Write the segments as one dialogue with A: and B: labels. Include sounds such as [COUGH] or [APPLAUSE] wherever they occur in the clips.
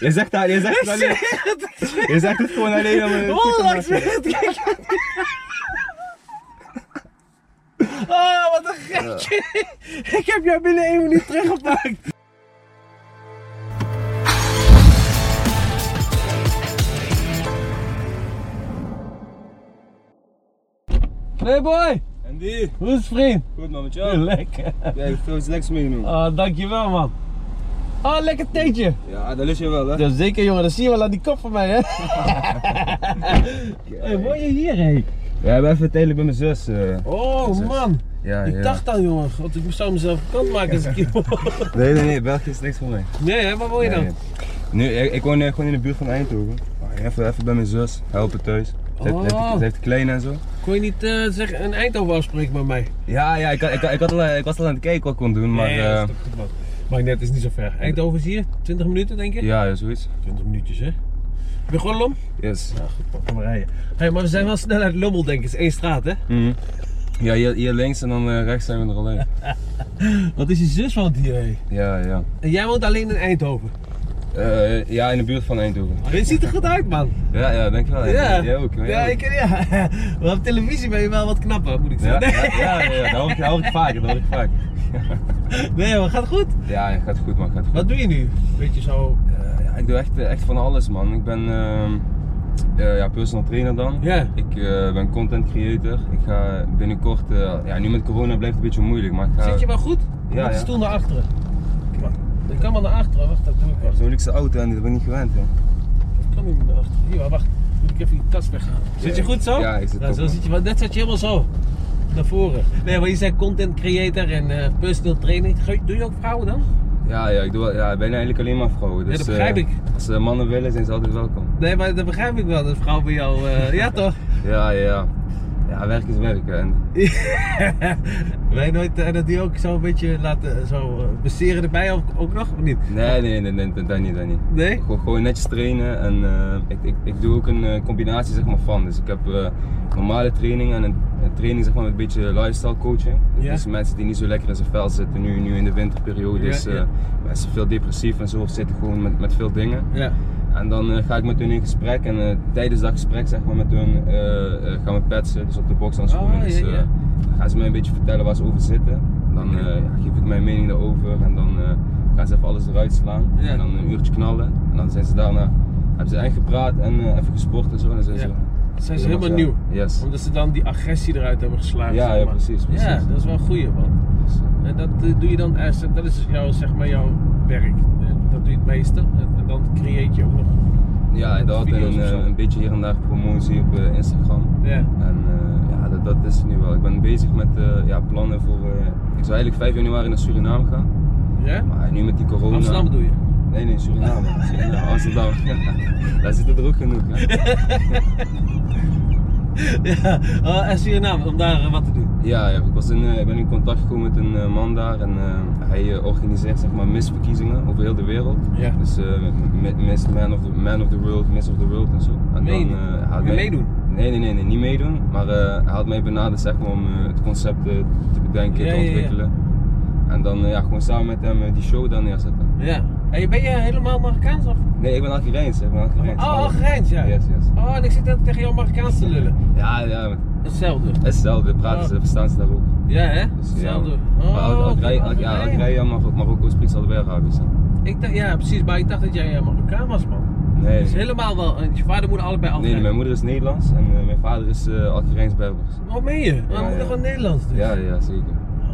A: Je zegt dat, je zegt het alleen. Je zegt het gewoon alleen om
B: Eh,
A: een goed te
B: Wallah, ik
A: maken.
B: zweer het, kijk. Oh, wat een gek. Ik heb jou binnen één minuut teruggepakt. Hey boy,
C: En die?
B: hoe is het vriend?
C: Goed man, met
B: Oh,
C: jou?
B: lekker.
C: Jij hebt veel iets leks meegenomen.
B: Oh, dankjewel man. Oh, lekker theetje.
C: Ja, dat lust je wel hè?
B: Ja, zeker jongen, dat zie je wel aan die kop van mij hè. [LAUGHS] Hey, mooi je hier hé.
A: Ja, ik ben even tijdelijk bij mijn zus. eh.
B: Oh man.
A: Ja,
B: Ik
A: ja.
B: dacht dan jongen, want ik zou mezelf kant maken als ik hier [LAUGHS] woon.
A: Nee, nee, nee, België is niks voor mij.
B: Nee hè, wat wil je dan?
A: Nee. Nu, ik, ik woon eh, gewoon in de buurt van Eindhoven. Maar Even, even bij mijn zus, helpen thuis. Ze heeft-
B: Oh.
A: heeft, ze heeft klein en zo.
B: Kon je niet eh, zeggen, een Eindhoven afspreken met mij?
A: Ja, ja, ik, had- ik, had- ik, had al, eh, ik was al aan het kijken wat ik kon doen, maar...
B: nee, dat
A: eh,
B: is toch goed, man. Maar net is niet zo ver. Eindhoven is hier, 20 minuten denk je?
A: ja, ja, zoiets.
B: 20 minuutjes hè. Ben je gewoon lom?
A: Yes.
B: Ja goed man, kom maar rijden. Hé, maar we zijn wel snel uit Lommel denk ik, het is één straat hè?
A: Mhm. Ja, hier, hier links en dan eh, rechts zijn we er alleen.
B: Wat is je zus woont hier hé?
A: Ja, ja.
B: En jij woont alleen in Eindhoven.
A: Eh, ja, in de buurt van Eindhoven.
B: Maar je ziet er goed uit man.
A: Ja, ja, denk wel.
B: Ja,
A: Jij ook. nou maar
B: Ja,
A: jij ook.
B: ik, ja. [LAUGHS] Maar op televisie ben je wel wat knapper, moet ik
A: Ja,
B: zeggen.
A: ja, ja, ja, ja, dat hoor ik, dat hoor ik vaker, dat hoor ik vaak.
B: Nee, maar gaat goed.
A: Ja, ja, gaat goed man, gaat goed.
B: Wat doe je nu? Beetje zo.
A: Eh, ja, ik doe echt, eh, echt van alles man. Ik ben ehm, eh, ja, personal trainer dan.
B: Ja.
A: Ik eh, ben content creator. Ik ga binnenkort, eh, ja nu met corona blijft het een beetje moeilijk, maar ik ga...
B: Zit je wel goed? Met
A: ja.
B: de stoel naar achteren. Ik kan maar naar achteren, wacht, dat doe ik wel.
A: Zo'n luxe auto en dat ben ik niet gewend hè.
B: Dat kan niet meer naar achteren. Hier, maar wacht, moet ik even die tas weghalen. Zit je goed zo?
A: Ja, ik zit
B: nou,
A: top,
B: zo
A: man.
B: zit je, maar net zat je helemaal zo. Naar voren. Nee, maar je bent content creator en eh, personal training. Ge- Doe je ook vrouwen dan?
A: Ja, ja, ik doe wel- ja, bijna eigenlijk alleen maar vrouwen. Dus,
B: dat begrijp
A: eh,
B: ik.
A: als ze mannen willen zijn ze altijd welkom.
B: Nee, maar dat begrijp ik wel, dat vrouwen bij jou. eh, [LAUGHS] ja, toch?
A: Ja, ja, ja. Ja, werk is werk hè. en
B: Wij nooit eh, dat die ook zo een beetje laten zo eh, beseren erbij ook, ook nog of niet?
A: Nee, nee, nee, nee, dat, dat niet, dat niet.
B: Nee?
A: Gewoon, gewoon netjes trainen en eh, ik, ik, ik doe ook een eh, combinatie zeg maar, van. Dus ik heb eh, normale training en een, een training zeg maar, met een beetje lifestyle coaching.
B: Ja.
A: Dus mensen die niet zo lekker in zijn vel zitten, nu, nu in de winterperiode
B: Ja,
A: is eh,
B: ja.
A: mensen veel depressief en zo zitten gewoon met, met veel dingen.
B: Ja.
A: En dan eh, ga ik met hun in gesprek en eh, tijdens dat gesprek zeg maar, met hun eh, eh, gaan we petsen, dus op de box aan schoenen.
B: Oh,
A: dus
B: ja, ja.
A: eh, dan gaan ze mij een beetje vertellen waar ze over zitten. Dan eh, ja, geef ik mijn mening daarover en dan eh, gaan ze even alles eruit slaan.
B: Ja.
A: En dan een uurtje knallen. En dan zijn ze daarna, hebben ze echt gepraat en eh, even gesport en zo. En dan zijn
B: Ja.
A: ze,
B: Zijn ze helemaal nieuw?
A: Yes.
B: Omdat ze dan die agressie eruit hebben geslagen.
A: Ja,
B: zeg
A: ja,
B: maar.
A: precies, precies.
B: Ja, dat is wel een goeie man.
A: Dus, eh,
B: En dat eh, doe je dan, eh, dat is jouw, zeg maar, jouw werk. En dat doe je het meeste. En, en dan creëer je ook nog.
A: ja,
B: Met
A: dat en
B: video's of zo.
A: eh, een beetje hier en daar promotie op eh, Instagram.
B: Ja.
A: En eh, ja, dat, dat is het nu wel. Ik ben bezig met eh, ja, plannen voor. eh, ik zou eigenlijk 5 januari naar Suriname gaan.
B: ja?
A: Maar nu met die corona.
B: Amsterdam doe je.
A: Nee, nee, Suriname. Suriname Amsterdam. [LAUGHS] Daar zitten er ook genoeg. Hè?
B: [LAUGHS] ja. Oh, en Suriname, om daar eh, wat te doen.
A: Ja, ja, ik, was in, eh, ik ben in contact gekomen met een eh, man daar. En eh, hij eh, organiseert zeg maar misverkiezingen over heel de wereld.
B: Ja.
A: Dus eh, mi- Miss Man of, the, Man of the World, Miss of the World en zo. En
B: Meen-
A: eh, hij had
B: Wil je
A: mij-
B: meedoen?
A: Nee, nee, nee, nee, niet meedoen. Maar eh, hij had mij benaderd zeg maar, om eh, het concept eh, te bedenken,
B: Ja, ja,
A: te
B: ja.
A: ontwikkelen. En dan eh, ja, gewoon samen met hem eh, die show daar neerzetten.
B: Ja. En ben je helemaal Marokkaans of?
A: Nee, ik ben Algerijns. hè, Ik ben Algerijns.
B: Oh, Algerijns, ja.
A: Yes, yes.
B: Oh, en ik zit net tegen jou Marokkaans te lullen.
A: Ja, ja, maar
B: Hetzelfde.
A: het is hetzelfde. Praten ze, verstaan ze daar ook.
B: Ja, hè?
A: Dus, ja,
B: Hetzelfde. Ah, Oh,
A: maar Al-
B: oké,
A: Algerije, Al- ja,
B: Algerije.
A: Algerije en Marokko, Marokko spreekt ze allebei Arabisch. hè.
B: Ik dacht, ja, precies, maar ik dacht dat jij eh, Marokkaan was, man.
A: Nee,
B: Dat is
A: nee.
B: helemaal wel. en Je vader moet allebei
A: Nee,
B: Algerijn.
A: mijn moeder is Nederlands en eh, mijn vader is eh Algerijns Berbers.
B: Wat meen je? Mijn
A: Ja,
B: moeder
A: ja.
B: gewoon Nederlands dus.
A: Ja, ja, zeker.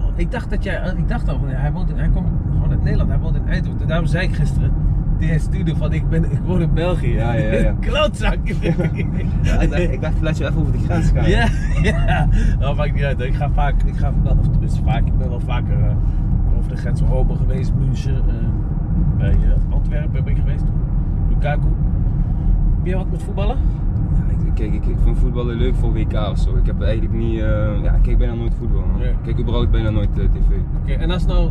B: Oh, Ik dacht dat jij, ik dacht al van, ja, hij, woont in, hij komt gewoon uit Nederland, hij woont in Eindhoven. Daarom zei ik gisteren, die hij stuurde van, ik, ben, ik woon in België.
A: Ja, ja, ja.
B: [LAUGHS]
A: [LAUGHS]
B: Klootzak.
A: Ja, ik, dacht, ik dacht, laat je even over de grens gaan.
B: Ja, [LAUGHS] ja. Dat maakt niet uit. Ik ga vaak, ik ga wel, of tenminste vaak, ik ben wel vaker eh, over de grens van Rome geweest, München, eh, bij eh, Antwerpen ben ik geweest toen, Lukaku. Heb jij wat met voetballen?
A: Ja, ik, kijk, ik, ik vind voetballen leuk voor WK of zo. Ik heb eigenlijk niet. eh, ja, ik kijk bijna nooit voetbal. man.
B: Nee.
A: Ik kijk überhaupt bijna nooit eh, tv.
B: Oké, en als het nou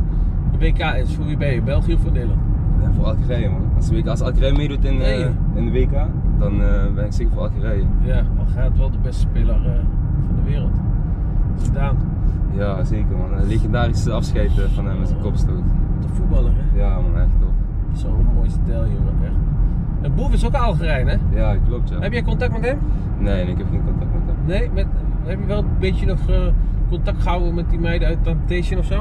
B: een WK is, voor wie ben je? België of voor Nederland?
A: Ja, voor Algerije, man. Als, WK, als Algerije meedoet in, eh,
B: Nee.
A: in de WK, dan eh, ben ik zeker voor Algerije.
B: Ja, al gaat wel de beste speler eh, van de wereld. Gedaan.
A: Ja, zeker, man. Een legendarische afscheid eh, van hem met zijn kopstoot.
B: De voetballer, hè?
A: Ja, man, echt top.
B: Zo'n mooi stijl, jongen, echt. Boef is ook Algerijn, hè?
A: Ja, klopt ja.
B: Heb jij contact met hem?
A: Nee, nee, ik heb geen contact met hem.
B: Nee? Met, heb je wel een beetje nog eh, contact gehouden met die meiden uit Temptation of zo?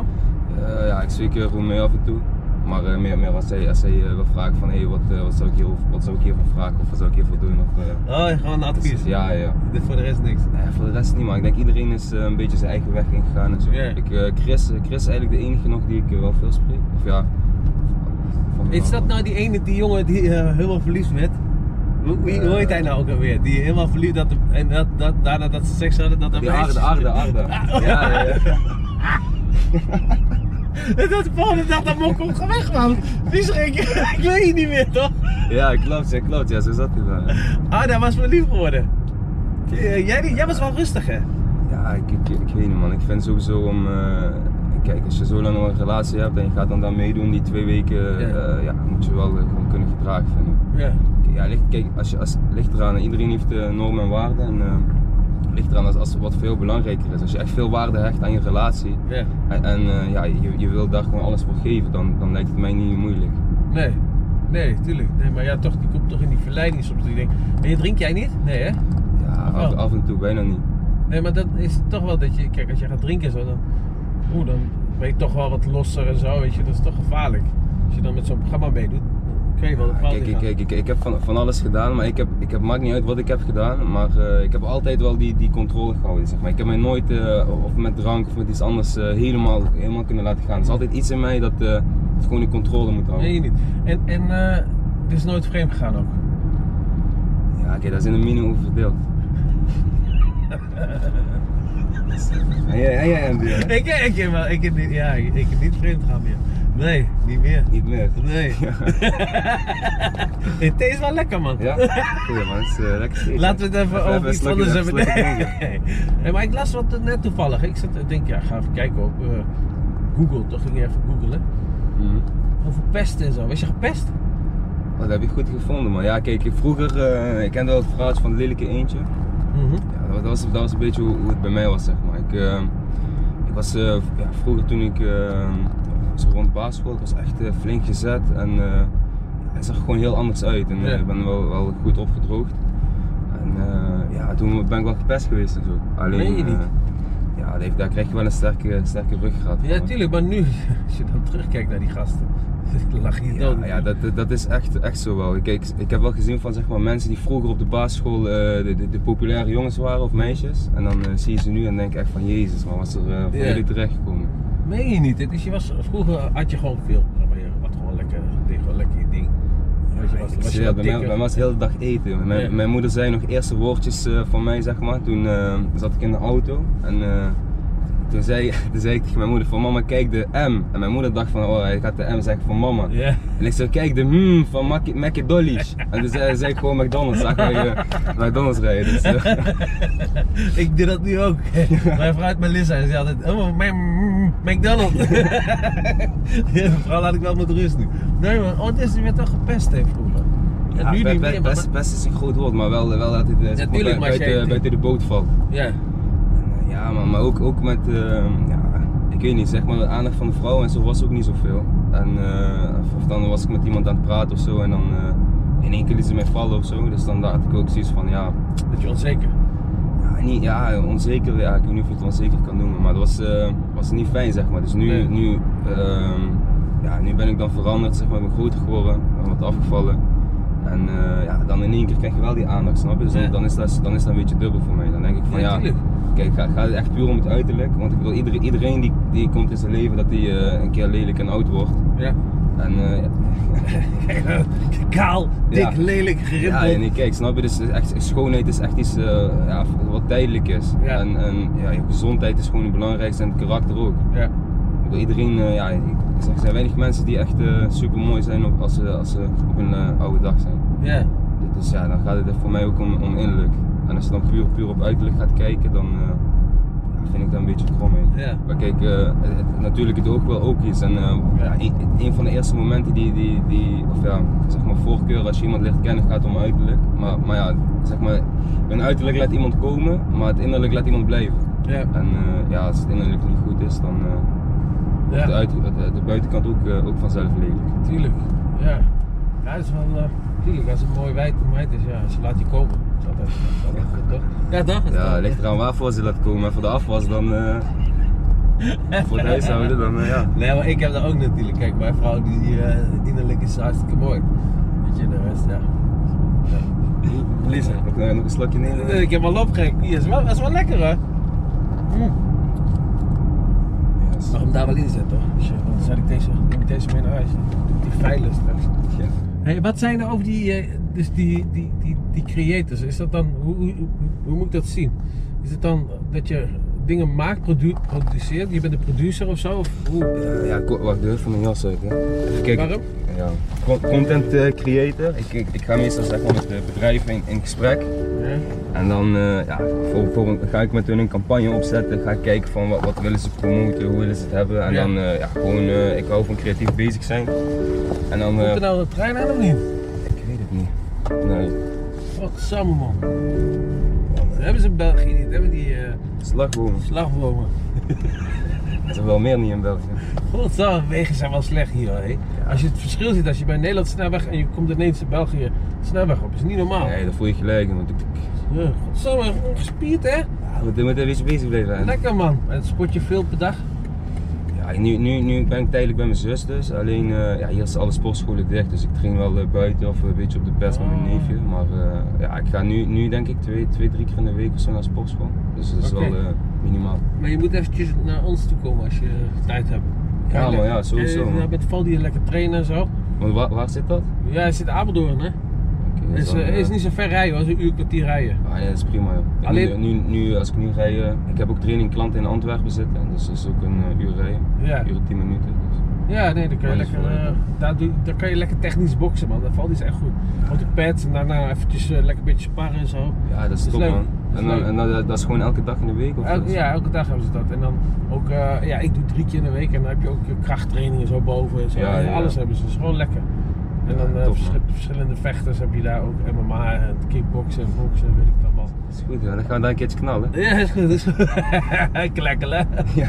A: Eh, ja, ik spreek er gewoon mee af en toe. Maar eh, meer, meer als zij, als zij eh, wil vragen van, hé, hey, wat, eh, wat, zou ik hier- wat zou ik hiervoor vragen of wat zou ik hiervoor doen? Of, eh,
B: Oh, gewoon
A: dat is-
B: advies.
A: ja, ja.
B: Dit voor de rest niks.
A: Nee, voor de rest niet, maar ik denk iedereen is eh, een beetje zijn eigen weg ingegaan en zo.
B: Ja.
A: Ik, eh, Chris, Chris is eigenlijk de enige nog die ik eh, wel veel spreek. Of ja. van-
B: Is dat nou die ene die jongen die eh, helemaal verliefd werd? Hoe, wie, hoe heet hij nou ook alweer? Die helemaal verliefd dat en dat, dat, daarna dat ze seks hadden, dat er
A: Die
B: meisjes-
A: Arde, Arde, Arde.
B: Ah, oh.
A: Ja, ja, ja.
B: [LAUGHS] En dat de volgende dag dat mok komt, ga weg man. Wie is er? Ik, [LAUGHS] ik weet je niet meer toch?
A: ja, klopt, ja, klopt. Ja, zo zat hij wel. ja.
B: Ah, daar was verliefd geworden. Eh, jij, niet- jij was wel rustig hè?
A: Ja, ik, ik, ik weet niet man. Ik vind sowieso om. eh, kijk, als je zo lang al een relatie hebt en je gaat dan daar meedoen die twee weken,
B: Ja.
A: eh, ja, moet je wel eh, gewoon kunnen gedragen vinden.
B: Ja.
A: Ja, ligt, kijk, als je, als, ligt eraan, iedereen heeft eh, normen en waarden. En eh, ligt eraan als, als er wat veel belangrijker is. Als je echt veel waarde hecht aan je relatie
B: Ja.
A: en, en, eh, ja, je, je wil daar gewoon alles voor geven, dan, dan lijkt het mij niet moeilijk.
B: Nee. Nee, tuurlijk. Nee, maar ja, toch, die komt toch in die verleiding soms. Dat ik denk, hé, drink jij niet? Nee hè?
A: Ja,
B: Wel.
A: af, af en toe bijna niet.
B: Nee, maar dat is toch wel dat je, kijk, als je gaat drinken zo, dan, oeh, dan ben je toch wel wat losser en zo, weet je, dat is toch gevaarlijk. Als je dan met zo'n programma meedoet, dan kun je wel een
A: Ja,
B: fout
A: Ah, kijk, kijk,
B: ingaan.
A: kijk, ik, ik heb van, van alles gedaan, maar ik heb, ik heb, maakt niet uit wat ik heb gedaan, maar eh, ik heb altijd wel die, die controle gehouden. Zeg maar. Ik heb mij nooit eh, of met drank of met iets anders eh, helemaal, helemaal kunnen laten gaan. Er is altijd iets in mij dat, eh, dat gewoon de controle moet houden.
B: Nee, je niet. En, en eh, het is nooit vreemd gegaan ook.
A: Ja, oké, daar zijn de minen over
B: [LAUGHS]
A: verdeeld. en jij, en jij MD, hè?
B: [LAUGHS] Ik, ik, heb wel, ik, heb niet, ja, ik, ik heb niet vreemd gegaan meer. Nee, niet meer.
A: Niet meer. [LAUGHS]
B: Nee. [LAUGHS] Hey, thee is wel lekker, man.
A: Ja? Goeie man, het is eh, lekker eten.
B: Laten we het even, over
A: een
B: iets
A: slokje-
B: anders
A: even
B: hebben.
A: een slokje
B: Nee.
A: drinken.
B: [LAUGHS] Nee, maar ik las wat eh, net toevallig. Ik zat, ik denk, ja, ga even kijken op eh, Google. Toch ging ik even googelen.
A: Mhm.
B: Over pest en zo. Was je gepest?
A: Oh, dat heb je goed gevonden man. Ja kijk, vroeger, eh, ik kende wel het verhaaltje van het lelijke eentje. Ja, dat, was, dat was een beetje hoe, hoe het bij mij was, zeg maar. Ik, eh, ik was eh, ja, vroeger toen ik eh, zo rond basisschool, ik was echt eh, flink gezet en eh, het zag er gewoon heel anders uit. En eh,
B: Ja.
A: ik ben wel, wel goed opgedroogd. En eh, ja, toen ben ik wel gepest geweest en zo. Alleen,
B: Meen je niet?
A: eh, ja, dat heeft- daar krijg je wel een sterke, sterke ruggraat
B: Ja,
A: van.
B: tuurlijk. Maar nu, [LAUGHS] als je dan terugkijkt naar die gasten, [LAUGHS] lag je dood.
A: Ja, ja dat, dat is echt, echt zo wel. Kijk, ik heb wel gezien van zeg maar, mensen die vroeger op de basisschool eh, de, de, de populaire jongens waren of meisjes. En dan eh, zie je ze nu en denk ik echt van Jezus, maar was er eh voor
B: Ja.
A: jullie terechtgekomen?
B: Meen je niet? Dus je was, vroeger had je gewoon veel. Maar je had gewoon lekker, deed gewoon lekker je ding. Want je was,
A: Ik
B: was je
A: zweer,
B: wat
A: bij, mij, bij mij
B: dikker.
A: was de hele dag eten. Mijn,
B: Ja.
A: mijn moeder zei nog eerste woordjes eh, van mij, zeg maar. Toen eh, zat ik in de auto en eh, toen, zei, [LAUGHS] toen zei ik tegen mijn moeder van mama, kijk de M. En mijn moeder dacht van, oh hij gaat de M zeggen van mama.
B: Ja.
A: En ik zei, kijk, de hmm van Mac- McDonald's. En toen zei, zei ik gewoon McDonald's, zag mij eh, McDonald's rijden.
B: [LAUGHS]
A: Dus, eh,
B: Ik doe dat
A: [LAUGHS]
B: nu ook. Mijn vrouw uit Melissa, ze altijd, oh, mijn mm, McDonald's. [LAUGHS] ja, mevrouw, laat ik wel met rust nu. Nee man, oh, dit is weer toch gepest hè, vroeger. En
A: ja,
B: nu
A: be-
B: niet
A: be-
B: meer, maar...
A: best, best is een groot woord, maar wel, wel dat het eh, zeg maar,
B: tuurlijk,
A: bui-
B: maar als jij-
A: buiten, buiten de boot valt.
B: Ja,
A: En, eh, ja, maar, maar ook, ook met, eh, ja, ik weet niet, zeg maar, de aandacht van de vrouw en zo was ook niet zoveel. En, eh, of- of dan was ik met iemand aan het praten of zo en dan eh, in één keer liet ze mij vallen of zo. Dus dan dacht ik ook zoiets van, ja,
B: dat je onzeker.
A: Ja, niet, ja, onzeker, ja, ik weet niet of je het onzeker kan noemen, maar dat was, eh, was niet fijn, zeg maar. Dus nu,
B: Nee.
A: nu, ehm, ja, nu ben ik dan veranderd, zeg maar, ik ben groter geworden, ben wat afgevallen. En eh, ja, dan in één keer krijg je wel die aandacht, snap je? Dus dan,
B: Ja.
A: dan, is dat, dan is dat een beetje dubbel voor mij. Dan denk ik van,
B: Ja,
A: ja,
B: tuurlijk.
A: kijk, gaat ga het echt puur om het uiterlijk? Want ik bedoel, iedereen, iedereen die, die komt in zijn leven, dat hij eh, een keer lelijk en oud wordt.
B: Ja. [LAUGHS]
A: En eh, ja,
B: Kaal, dik,
A: Ja.
B: lelijk,
A: Ja,
B: gerimpeld.
A: en ik kijk, snap je? Dus het is echt, schoonheid is echt iets eh, ja, wat tijdelijk is.
B: Ja.
A: En, en ja, je gezondheid is gewoon het belangrijkste en het karakter ook.
B: ja.
A: Ik bedoel, Iedereen, eh, ja, ik zeg, er zijn weinig mensen die echt super mooi zijn op, als, ze, als ze op hun eh, oude dag zijn.
B: ja.
A: Dus ja, dan gaat het er voor mij ook om, om innerlijk. En als je dan puur, puur op uiterlijk gaat kijken, dan eh, ja, vind ik dat een beetje krom. hè.
B: Ja.
A: Maar kijk, eh, het- natuurlijk het ook wel ook iets. En eh, ja, een, een van de eerste momenten die, die, die of ja, zeg maar voorkeur als je iemand leert kennen gaat om uiterlijk. Maar, maar ja, zeg maar, een uiterlijk laat iemand komen, maar het innerlijk laat iemand blijven.
B: ja.
A: En eh, ja, als het innerlijk niet goed is, dan eh, wordt
B: Ja.
A: de, uit- de- de buitenkant ook, eh, ook vanzelf lelijk.
B: Tuurlijk, ja. Ja, dat is wel. eh tuurlijk, als het mooi wijd meid is, ja, ze laat je komen. Dat is altijd, dat is altijd goed, toch? Ja, [LAUGHS] toch? Dat is
A: Ja,
B: toch-
A: het ligt eraan waarvoor ze laat komen. En voor de afwas dan.
B: [LAUGHS]
A: eh, voor het huishouden dan, eh, ja.
B: Nee, maar ik heb dat ook natuurlijk. Kijk, mijn vrouw die eh, innerlijk is hartstikke mooi. Weet je, de rest, ja.
A: Lisa, nog, eh, nog een slokje nemen?
B: Ik heb al opgek. Die is wel, dat is wel lekker, hè? Mm.
A: Yes.
B: Mag hem daar wel in zetten, hoor. Dus, eh, dan zet ik deze, neem ik deze mee naar huis. Doe ik Die veilig straks.
A: Ja.
B: Hey, wat zijn er over die, eh, dus die, die, die, die creators? Is dat dan, hoe, hoe, hoe- hoe moet ik dat zien? Is het dan dat je dingen maakt, produ produceert? Je bent een producer of zo? Of hoe?
A: Ja, ko- wacht, de deur van mijn jas uit. Hè. Even kijken.
B: Waarom?
A: Ja. Con- Content eh, creator. Ik, ik, ik ga meestal zeg maar, met eh, bedrijven in, in gesprek.
B: Ja.
A: En dan eh, ja, voor, voor een- ga ik met hun een campagne opzetten. Ga ik kijken van wat, wat willen ze promoten, hoe willen ze het hebben. En
B: Ja.
A: dan eh, ja, gewoon, eh, ik hou van creatief bezig zijn. En dan, eh,
B: Komt er nou een trein aan of niet?
A: ik weet het niet. Nee,
B: Wat samen man. Dat hebben ze in België niet, hebben die eh,
A: slagbomen.
B: slagbomen.
A: Er zijn wel meer niet in België.
B: Godsamme, wegen zijn wel slecht hier. Hè? Als je het verschil ziet, als je bij Nederland snelweg en je komt ineens in België snelweg op, is niet normaal.
A: Nee, dat voel je gelijk. Want ik,
B: Ja, Godsamme, gewoon gespierd hè?
A: ja, we moeten een beetje bezig blijven. En-
B: Lekker man. En sport je veel per dag?
A: Ja, nu, nu, nu ben ik tijdelijk bij mijn zus dus. Alleen eh, ja, hier is alle sportscholen dicht. Dus ik train wel eh, buiten of een beetje op de pers met mijn
B: Ah.
A: neefje. Maar eh, ja, ik ga nu, nu denk ik twee, twee, drie keer in de week of zo naar sportschool. Dus dat is
B: Oké.
A: wel eh, minimaal.
B: Maar je moet eventjes naar ons toe komen als je tijd hebt.
A: Ja,
B: Ga je
A: maar
B: lekker-
A: ja, sowieso,
B: Eh,
A: man.
B: nou, met Val die lekker trainen en zo.
A: Want waar, waar zit dat?
B: Ja, hij zit in Apeldoorn hè.
A: Oké, dat
B: Is,
A: dan,
B: eh,
A: eh,
B: is niet zo ver rijden hoor, is een uur kwartier rijden.
A: Ah, ja, dat is prima. joh. Ik
B: Alleen-
A: Nu, nu, nu, als ik nu rij, eh, ik heb ook training klanten in Antwerpen zitten. Dus dat is ook een eh, uur rijden.
B: Ja.
A: Een uur en tien minuten. Dus.
B: Ja, nee, dan kan
A: Maar
B: je,
A: dat is
B: lekker,
A: wel
B: eh, daar, doe, daar kan je lekker technisch boksen, man. Dat valt is echt goed. Op de pads en daarna eventjes eh, lekker een beetje sparren en zo.
A: Ja, dat is
B: Dat is
A: top
B: leuk.
A: man.
B: Dat is
A: En, dan,
B: leuk.
A: en dat, dat is gewoon elke dag in de week? Of
B: El-
A: dat is-
B: ja, elke dag hebben ze dat. En dan ook, eh, ja, ik doe drie keer in de week en dan heb je ook je krachttraining en zo boven. En zo.
A: Ja,
B: En
A: ja.
B: Alles hebben ze, dat is gewoon lekker. En
A: Ja,
B: dan eh,
A: top,
B: verschi-
A: man.
B: verschillende vechters heb je daar ook. MMA en kickboksen en boksen, weet ik dan wat.
A: Dat is goed, ja. dan gaan we daar een keertje knallen.
B: Ja, is goed, [LAUGHS] is goed. Klekkelen.
A: Ja,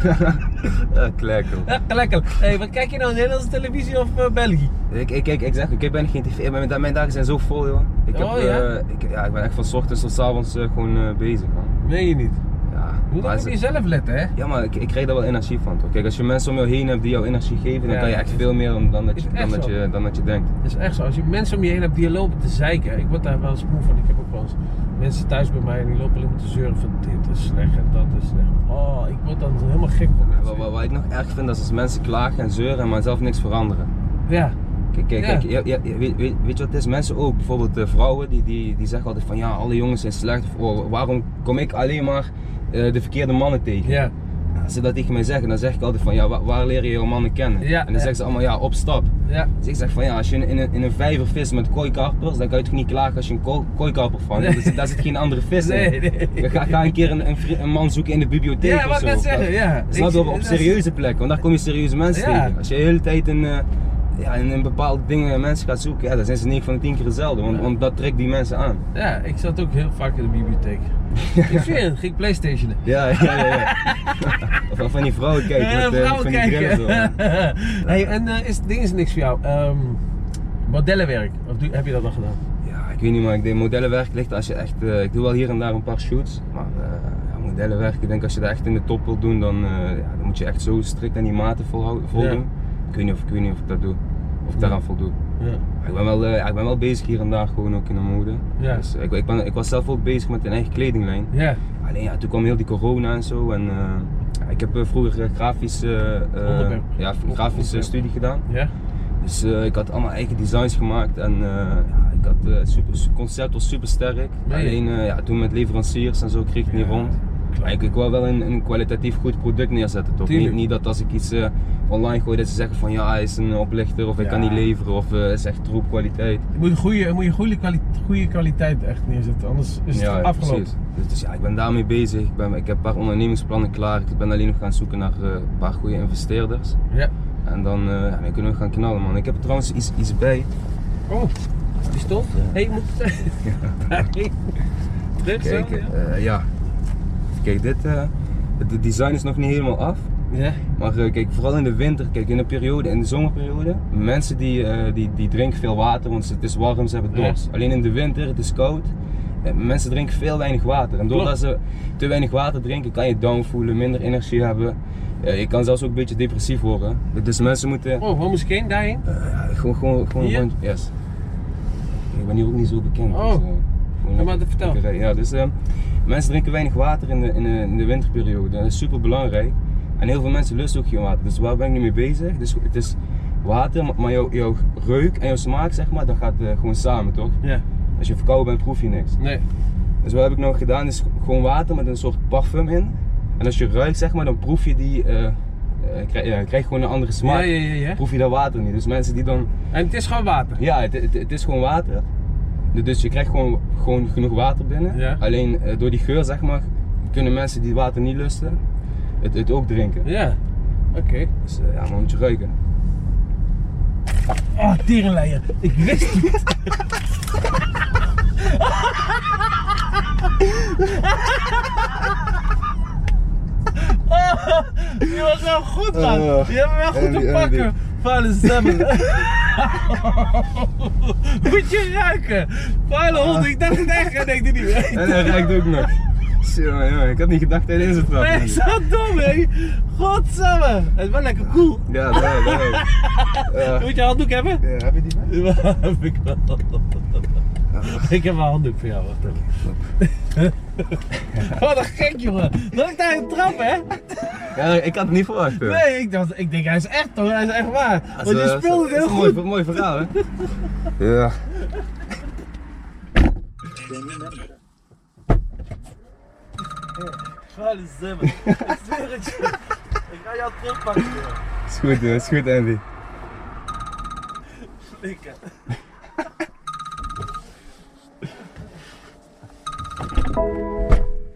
A: klekkel.
B: Klekkelen. Hé, hey, wat kijk je nou, Nederlandse televisie of eh, België?
A: Ik, ik, ik, ik zeg, ik heb bijna geen tv. Mijn, mijn dagen zijn zo vol, joh. Ik,
B: Oh,
A: heb,
B: ja?
A: eh, ik, ja, ik ben echt van 's ochtends tot 's avonds eh, gewoon eh, bezig, man.
B: Meen je niet.
A: Ja,
B: Je moet
A: maar
B: ook
A: is
B: op
A: het-
B: jezelf letten, hè?
A: ja, maar ik, ik krijg daar wel energie van, toch? Kijk, als je mensen om jou heen hebt die jou energie geven, dan
B: Ja,
A: kan je
B: dat
A: echt
B: is-
A: veel meer dan, dan, dat,
B: is
A: je,
B: echt
A: dan, dat,
B: zo.
A: je, dan dat je denkt.
B: Dat is echt zo. Als je mensen om je heen hebt die lopen te zeiken. Ik word daar wel eens moe van. Ik heb ook wel eens mensen thuis bij mij en die lopen alleen maar te zeuren van dit is slecht en dat is slecht. Oh, ik word dan helemaal gek van
A: Wat, wat,
B: mensen.
A: wat ik nog erg vind, dat is als mensen klagen en zeuren, maar zelf niks veranderen.
B: Ja,
A: Kijk, kijk,
B: Ja.
A: kijk je- je- je- weet, weet, weet je wat het is? Mensen ook, bijvoorbeeld eh, vrouwen, die, die, die zeggen altijd van ja, alle jongens zijn slecht. Of oh, waarom kom ik alleen maar eh, de verkeerde mannen tegen?
B: ja,
A: Als ze dat tegen mij zeggen, dan zeg ik altijd van ja, waar, waar leer je jouw mannen kennen?
B: Ja,
A: en dan
B: ja.
A: zeggen ze allemaal ja, op stap. [LAUGHS]
B: ja.
A: Dus ik zeg van ja, als je in een, in een vijver vist met kooikarpers, dan kan je toch niet klagen als je een kooi- kooikarper vangt. want er zit- daar zit geen andere vis
B: Nee,
A: in.
B: nee.
A: Dan
B: [LAUGHS]
A: Ga, ga een keer een, een, vri- een man zoeken in de bibliotheek
B: Ja,
A: of
B: wat
A: zo.
B: ik net zeggen, ja.
A: Snap je,
B: Ik-
A: op, op
B: dat is-
A: serieuze plekken, want daar kom je serieuze mensen
B: Ja.
A: tegen. Als je de hele tijd in, eh, ja, in, in bepaalde dingen eh, mensen gaat zoeken, ja, dan zijn ze 9 van de 10 keer hetzelfde, want,
B: Ja.
A: want dat trekt die mensen aan.
B: Ja, ik zat ook heel vaak in de
A: [LAUGHS]
B: bibliotheek. Ik zweer het, ging ik Playstationen.
A: Ja, ja, ja. ja. [LAUGHS] of, of van die vrouwen kijken,
B: Eh,
A: met, eh,
B: vrouwen
A: van die
B: kijken.
A: brillen zo.
B: [LAUGHS] hey, en eh, is, ding is niks voor jou. Ehm, modellenwerk, of doe- heb je dat al gedaan?
A: Ja, ik weet niet, maar ik deed modellenwerk ligt als je echt. eh, ik doe wel hier en daar een paar shoots, maar eh, ja, modellenwerk, ik denk als je dat echt in de top wilt doen, dan, eh, ja, dan moet je echt zo strikt aan die maten volhou- voldoen. Ik, weet niet of, ik weet niet of ik dat doe, of ik daaraan voldoe.
B: Ja.
A: Maar Ik ben, wel, eh, ja, ik ben wel bezig hier en daar gewoon ook in de mode.
B: Ja.
A: Dus, eh, ik, ik, ben, ik was zelf ook bezig met een eigen kledinglijn.
B: Ja.
A: Alleen ja, toen kwam heel die corona en zo. En, eh, ja, ik heb eh, vroeger eh, grafische, eh,
B: Onderwerp.
A: ja, grafische
B: Onderwerp.
A: studie gedaan.
B: Ja?
A: Dus eh, ik had allemaal eigen designs gemaakt en eh, ja, ik had, eh, super, het concept was super sterk.
B: Nee.
A: Alleen eh, ja, toen met leveranciers en zo kreeg ik het niet
B: Ja,
A: rond. Maar ik, ik wil wel een, een kwalitatief goed product neerzetten toch?
B: Tuurlijk.
A: Niet, niet dat als ik iets eh, online gooi dat ze zeggen van ja hij is een oplichter of ik
B: Ja.
A: kan niet leveren of eh, het is echt troep kwaliteit.
B: Je moet goede, moet je goede, kwali- goede kwaliteit echt neerzetten, anders is het
A: ja,
B: afgelopen.
A: precies. Dus, dus ja, ik ben daarmee bezig. Ik, ben, ik heb een paar ondernemingsplannen klaar. Ik ben alleen nog gaan zoeken naar eh, een paar goede investeerders.
B: Ja.
A: En dan, eh, ja, dan kunnen we gaan knallen man. Ik heb er trouwens iets, iets bij.
B: Oh, pistool? Hé, hey, moet het Dit zo?
A: Kijk,
B: ja?
A: eh, ja. Kijk, dit. eh, het design is nog niet helemaal af.
B: Ja?
A: Maar eh, kijk, vooral in de winter, kijk, in de periode, in de zomerperiode, mensen die, eh, die, die drinken veel water, want het is warm, ze hebben
B: Ja.
A: dorst. Alleen in de winter, het is koud, eh, mensen drinken veel weinig water. En doordat ze te weinig water drinken, kan je down voelen, minder energie hebben. Eh, je kan zelfs ook een beetje depressief worden. Dus mensen moeten
B: Oh, waar moest ik heen? Daarheen?
A: ja, gewoon, gewoon, gewoon,
B: Hier?
A: gewoon, yes. Ik ben hier ook niet zo bekend.
B: Oh.
A: eh, gewoon lekker-
B: maar dat vertel.
A: lekker rijden. Ja, dus eh, mensen drinken weinig water in de, in, de, in de winterperiode. Dat is super belangrijk. En heel veel mensen lusten ook geen water. Dus waar ben ik nu mee bezig? Dus het is water, maar- maar jouw jouw reuk en jouw smaak, zeg maar, dat gaat eh, gewoon samen, toch?
B: Ja.
A: Als je verkouden bent, proef je niks.
B: Nee.
A: Dus wat heb ik nou gedaan? Is gewoon water met een soort parfum in. En als je ruikt, zeg maar, dan proef je die. eh eh, krijg, ja, krijg je gewoon een andere
B: Ja,
A: smaak.
B: ja, ja, ja.
A: Proef je dat water niet. Dus mensen die dan
B: En het is gewoon water.
A: ja, het, het, het is gewoon water. Du- Dus je krijgt gewoon, gewoon genoeg water binnen.
B: Ja.
A: Alleen eh, door die geur, zeg maar, kunnen mensen die water niet lusten, het, het ook drinken.
B: Ja. Oké.
A: Dus eh, ja, maar moet je ruiken.
B: [LAUGHS] Oh, terenleier. Ik wist niet. Oh, die was wel goed, man.
A: Eh,
B: Oh. Die hebben we wel goed
A: Andy,
B: te pakken.
A: Andy.
B: Vuile zemmen. [LAUGHS] Moet je ruiken. Vuile hond. Ik dacht het echt. en Ik denk het [LAUGHS] niet.
A: En hij ruikt ook nog. [LAUGHS] Zo, jongen, ik had niet gedacht dat hij in zijn trap
B: Nee,
A: ging.
B: zo dom, hé. Godsamme. Het is wel lekker cool.
A: Ja, dat
B: [LAUGHS]
A: dat.
B: Moet je handdoek hebben?
A: Ja, heb je die bij?
B: [LAUGHS] Ja, heb ik wel. Ik heb een handdoek voor jou, wacht even. [LAUGHS] Wat een gek, jongen. Dat ik daar een trap, hè?
A: Ja, ik had het niet verwacht. hoor.
B: Nee, ik, dacht, ik denk hij is echt, hoor. Hij is echt waar.
A: Dat is,
B: Want
A: eh,
B: je
A: dat is-
B: speelde het
A: dat is
B: heel
A: een mooi-
B: goed.
A: Mooi,
B: [LAUGHS]
A: verhaal, hè? Ja.
B: Vuile zemmen. [LAUGHS] Ik zweer het je. Ik ga jou terugpakken, jongen.
A: Is goed, hoor. is goed, Andy.
B: Flikker. [LAUGHS]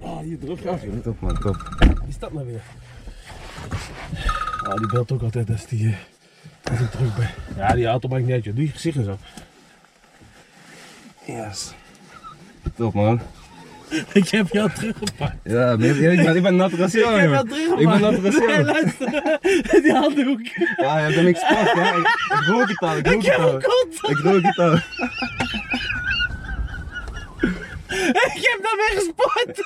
B: Ah, hier druk af, jongen.
A: Top, man, top.
B: Wie is dat nou weer? Ah, die belt ook altijd als die, eh, als ik terug ben. Ja, die auto maakt niet uit, joh. Doe je gezicht en zo.
A: Yes. Top, man.
B: Ik heb jou teruggepakt.
A: Ja, maar
B: [LAUGHS]
A: ik- ik ben, ik ben nat als jou,
B: Ik heb jou
A: jongen.
B: teruggepakt.
A: Ik ben nat als jou.
B: Nee, luister. [LAUGHS] Die handdoek.
A: Ja, je hebt hem export, hè? Ik, ik rook het al, ik rook het al.
B: God,
A: Ik rook het al.
B: ik heb dat weggespot.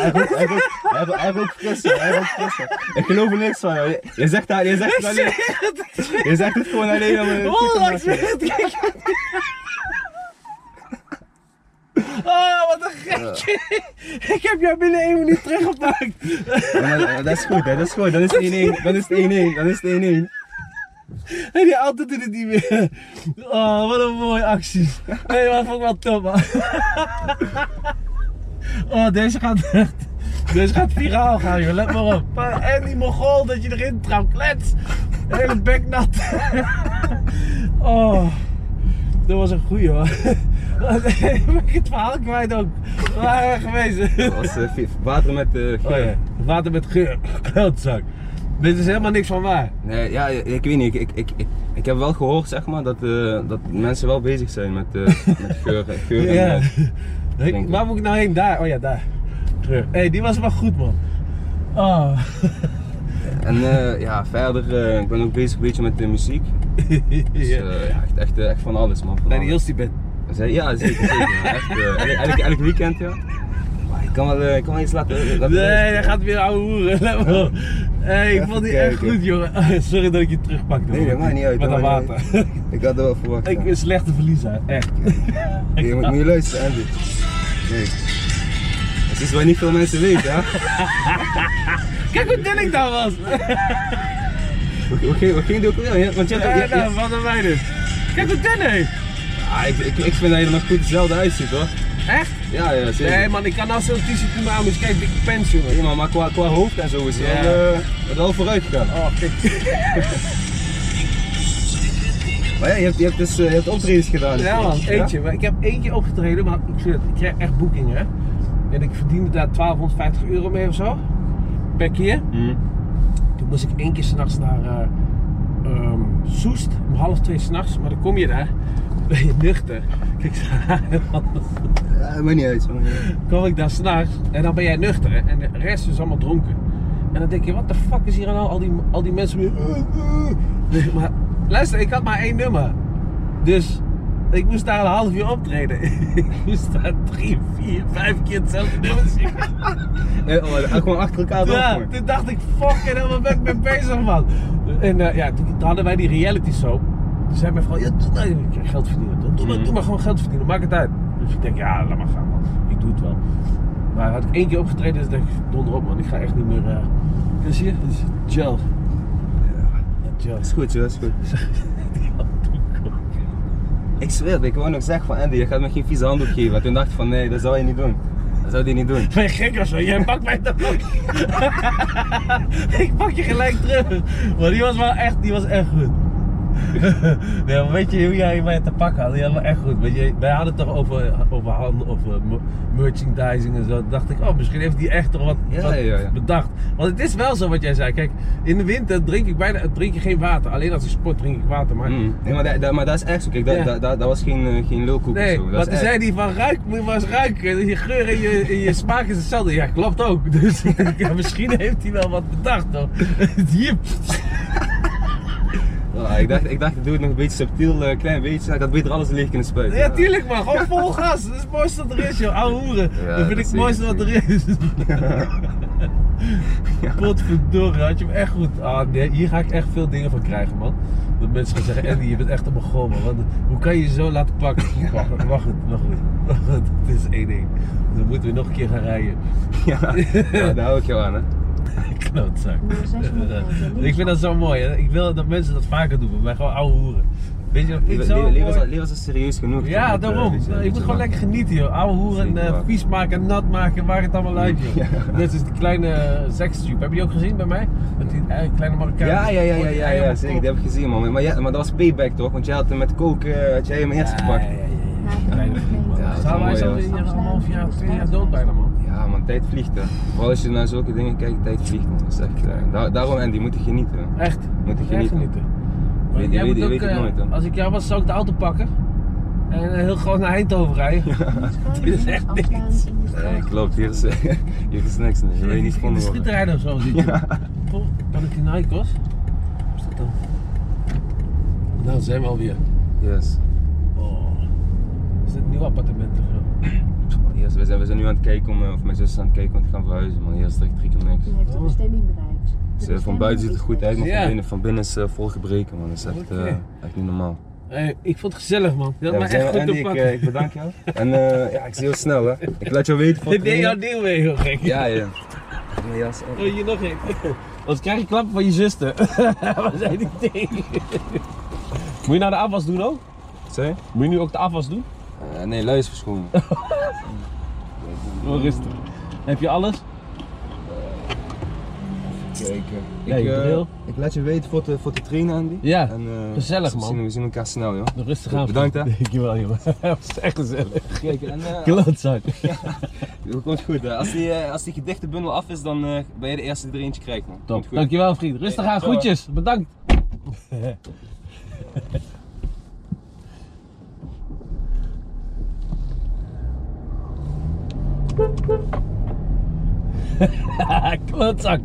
A: Hij rookt- hij rookt- hij rookt- Hij rookt frissen, hij rookt frissen. Ik geloof er niks van, joh. Je- Je zegt, dat- je zegt het alleen. Je zegt het gewoon alleen om... eh, goed te
B: Onlangs
A: maken.
B: weer het kijken. [LAUGHS] Oh, wat een gekje. Ik heb jou binnen één minuut teruggepakt.
A: Ja, maar, eh, Dat is goed, hè? Dat is goed. Dan is het 1-1. Dan is het 1-1. Dan is het 1-1.
B: En die auto doet het niet meer. Oh, wat een mooie actie. Nee, maar vond ik wel top, man. Oh, deze gaat echt... Deze gaat viraal gaan, joh. Let maar op. Maar En die mogol dat je erin trapt. Klets. De hele bek nat. Oh. Dat was een goeie, hoor. Oh, Nee, [LAUGHS] ben ik het verhaal kwijt ook. Waar geweest?
A: Dat was eh, vi- water met eh
B: Oh
A: geur.
B: ja, water met geur. Geldzak. Dit is helemaal niks van waar.
A: Nee, ja, ik weet niet. Ik, ik, ik, ik heb wel gehoord, zeg maar, dat, eh, dat mensen wel bezig zijn met, eh met geur, geur en [LAUGHS]
B: Ja.
A: eh,
B: Hey,
A: Denk ik.
B: waar moet ik nou heen? Daar. Oh ja, daar. Terug. Hé, hey, die was wel goed, man. Oh.
A: En eh, ja, verder, eh, ik ben ook bezig een beetje met de muziek. Dus
B: [LAUGHS] Ja.
A: eh, [LAUGHS] ja, echt, echt, eh, echt van alles man. Van
B: Bij de
A: alles.
B: Jostie bent.
A: Zij- ja, zeker, zeker.
B: [LAUGHS]
A: ja. Echt, eh, elk, elk- elk weekend ja. Maar ik kan wel, eh, ik kan wel iets laten. laten
B: Nee,
A: luisteren.
B: hij gaat weer ouwe hoeren. [LAUGHS] Let maar op. Hey, ik
A: Even
B: vond die echt
A: kijken.
B: goed, jongen. [LAUGHS] Sorry dat ik je terugpakte.
A: Nee, dat
B: man.
A: maakt niet uit.
B: Met dat
A: dat maakt niet
B: water.
A: uit. Ik had er wel verwacht.
B: [LAUGHS] Ik
A: ja.
B: ben een slechte verliezer, echt.
A: Je moet, moet je luisteren, Andy. Kijk. Het is wat niet veel mensen weten, hè?
B: Kijk hoe dun ik daar was.
A: Hoe- Hoe ging- hoe ging die ook weer? Ja, Want jij, jij-
B: [LAUGHS] Ja,
A: jij-
B: nou, wat een wij dus. Kijk hoe dun hij. is.
A: Ah, ik, ik, ik vind dat je er nog goed hetzelfde uitziet hoor.
B: Echt?
A: Ja, ja, zeker.
B: Nee, man, ik kan nou zo'n t-shirt niet meer aan. Dus kijk, dikke pens, jongen.
A: Ja, maar- maar qua, qua hoofd en zo is het
B: Ja.
A: wel, eh, wel vooruit gegaan.
B: Oh, kijk.
A: Maar ja, je hebt, je hebt dus eh, je hebt optredens gedaan.
B: Ja man,
A: Ja?
B: eentje. Maar ik heb eentje opgetreden, maar ik, zweer het, ik kreeg echt boekingen. hè. En ik verdiende daar 1250 euro mee of zo. Per keer.
A: Hm.
B: Toen moest ik één keer s'nachts naar eh, ehm, Soest. Om half twee s'nachts. Maar dan kom je daar. Ben je nuchter. Kijk, [LAUGHS]
A: Ja, maakt niet uit. man.
B: kom ik daar s'nachts. En dan ben jij nuchter. hè. En de rest is allemaal dronken. En dan denk je, wat de fuck is hier aan al, al die, al die mensen weer. eh, Dus, Maar luister, ik had maar één nummer. Dus ik moest daar een half uur optreden. [LAUGHS] ik moest daar drie, vier, vijf keer hetzelfde nummer zingen.
A: Eh, oh, gewoon achter elkaar
B: Ja,
A: door. man.
B: toen dacht ik, fucking hell, waar ben ik [LAUGHS] mee bezig, man? En eh, ja, toen, toen hadden wij die reality show. Toen zei mijn vrouw, ja, doe nou, ik krijg geld verdienen. Doe, maar,
A: Mhm.
B: doe maar gewoon geld verdienen, maak het uit. Dus ik denk, ja, laat maar gaan, man. Ik doe het wel. Maar had ik één keer opgetreden, dus dacht ik, donder op, man. Ik ga echt niet meer... eh Kun je zien? Dit is gel. Ja, gel. [LAUGHS]
A: Dat is goed, joh, dat is goed. Ik zweer, het, ik wou nog zeggen van Andy, je gaat me geen vieze handdoek geven. En Toen dacht ik van nee, dat zou je niet doen. Dat zou hij niet doen.
B: Ben je gek of zo? Jij pakt mij dan ook. [LAUGHS] ik pak je gelijk terug. Maar die was wel echt, die was echt goed. [LAUGHS] nee, maar weet je hoe jij mij te pakken had? Die had wel echt goed. Weet je, wij hadden het toch over, over handel, over mer- merchandising en zo. Toen dacht ik, oh, misschien heeft die echt toch wat,
A: Ja,
B: wat
A: ja, ja.
B: bedacht. Want het is wel zo wat jij zei. Kijk, in de winter drink ik bijna drink je geen water. Alleen als ik sport drink ik water. Maar
A: Mm. Nee, maar, dat, dat- maar dat is echt zo. Kijk, dat,
B: Ja.
A: dat, dat, dat was geen, eh, geen lulkoek
B: Nee,
A: of zo. Dat
B: want
A: is
B: toen
A: echt-
B: zei hij van ruik, moet je maar eens ruiken. Je geur en je, en je smaak is hetzelfde. Ja, klopt ook. [LAUGHS] Dus ik denk, ja, misschien heeft hij wel wat bedacht hoor. [LAUGHS] Hier,
A: Ja, ik, dacht, ik dacht, ik doe het nog een beetje subtiel, eh, klein beetje. Ik had beter alles leeg kunnen spuiten.
B: ja, tuurlijk man, gewoon vol gas. Dat is het mooiste wat er is joh, ouwe hoeren.
A: Ja,
B: dat vind
A: dat
B: ik
A: is
B: het mooiste wat
A: zeker, [LAUGHS]
B: er is. Godverdorie, had je hem echt goed. Ah, nee, hier ga ik echt veel dingen van krijgen man. Dat mensen gaan zeggen, Andy, je bent echt een begonnen. Want hoe kan je je zo laten
A: [LAUGHS]
B: pakken? Wacht, wacht, wacht, wacht, wacht, Het is één ding. Dan moeten we nog een keer gaan rijden.
A: [LAUGHS]
B: [LAUGHS]
A: Ja, ja, daar hou ik jou aan, hè.
B: Klootzak.
D: Nummer zes moet rijden.
B: ik
D: [LAUGHS]
B: vind dat zo mooi. Hè? Ik wil dat mensen dat vaker doen. Wij gewoon ouwe hoeren. Weet je wat ik
A: Leven-
B: zo
A: leven- Leven is al-
B: mooi-
A: leven is al serieus genoeg. toch?
B: Ja,
A: Dat, eh,
B: daarom.
A: weet je, weet
B: ik
A: je
B: moet gewoon
A: wel.
B: lekker genieten, joh. Ouwe hoeren,
A: Zeker
B: eh
A: waar.
B: vies maken, nat maken, waar het allemaal uit, joh.
A: Ja.
B: [LAUGHS] Net als die kleine eh, sekstube. Heb je die ook gezien bij mij? Met die eh, kleine Marokkaan.
A: Ja, ja, ja, ja, ja, ja, zeker. Dat heb ik gezien, man. Maar, ja, maar dat was payback, toch? Want jij had hem met koken, eh, had jij hem eerst gepakt.
B: Ja, ja,
D: Ja,
B: ja, ja.
A: Ja, dat is
B: Zou wij
A: mooi,
B: zo
A: hoor.
B: weer hier een half jaar, twee jaar dood bijna, man.
A: Ja, man, tijd vliegt, hè. Vooral als je naar zulke dingen kijkt, tijd vliegt, man. Dat is echt, eh, da- daarom, Andy, moet je genieten.
B: Echt.
A: Moet je
B: Echt
A: genieten.
B: Maar
A: Weet-
B: jij
A: weet-
B: moet ook,
A: weet het
B: eh,
A: nooit, hè.
B: Als ik jou was, zou ik de auto pakken. En eh, heel gewoon naar Eindhoven rijden. Dit is echt niks.
A: Nee, Eh, klopt. Hier is, [LAUGHS] hier is niks, nee. Je weet niet
B: In de
A: gevonden worden.
B: schietrijden of [LAUGHS] zo zit je. Goh, Ben ik in Nikos? Wat is dat dan? Nou, zijn we alweer.
A: Yes.
B: Oh. Is dit een nieuw appartement of zo?
A: Yes, we, zijn, we zijn nu aan het kijken om, eh, of mijn zus is aan het kijken om te gaan verhuizen, man. Hier is het echt drie keer niks.
D: Je heeft de bestemming bereikt. De
A: Dus, eh, van
D: bestemming
A: buiten ziet
D: is
A: het goed uit, maar
B: Ja.
A: van binnen, van binnen is eh, vol gebreken, man. Dat is echt, eh,
B: Oké.
A: echt niet normaal.
B: Hey, ik vond het gezellig, man. Je had
A: Ja,
B: me
A: we zijn
B: echt
A: wel-
B: goed
A: Andy,
B: te
A: ik,
B: pakken.
A: eh, ik bedank jou. En eh, ja, ik zie jou snel, hè. Ik laat jou
B: [LAUGHS]
A: weten van
B: [LAUGHS] Dit deed
A: het
B: jouw
A: trainen.
B: deel weer heel [LAUGHS] gek.
A: Ja, ja. Ja, jas op.
B: Oh, hier nog [LAUGHS] één. Anders krijg je klappen van je zuster. [LAUGHS] Wat zei die tegen? [LAUGHS] Moet je nou de afwas doen ook?
A: Sorry?
B: Moet je nu ook de afwas doen?
A: Eh, nee, luisverschoenen.
B: Doe rustig. Heb je alles?
A: Zeker. Ik,
B: Nee,
A: eh,
B: bril.
A: ik laat je weten voor de, voor de trainen, Andy.
B: Ja,
A: En, eh,
B: gezellig,
A: we
B: man.
A: zien- We zien elkaar snel, joh.
B: Nog rustig aan.
A: Bedankt, hè.
B: [LAUGHS] Dankjewel, jongen. Dat was echt gezellig.
A: Zeker. En, eh,
B: Klootzak.
A: Dat [LAUGHS] komt goed. Hè. Als, die, eh, als die gedichte bundel af is, dan eh, ben je de eerste die er eentje krijgt, man. Komt
B: Top.
A: goed.
B: Dankjewel, vriend. Rustig aan.
A: Hey,
B: Groetjes. Bedankt. [LAUGHS] Klootzak.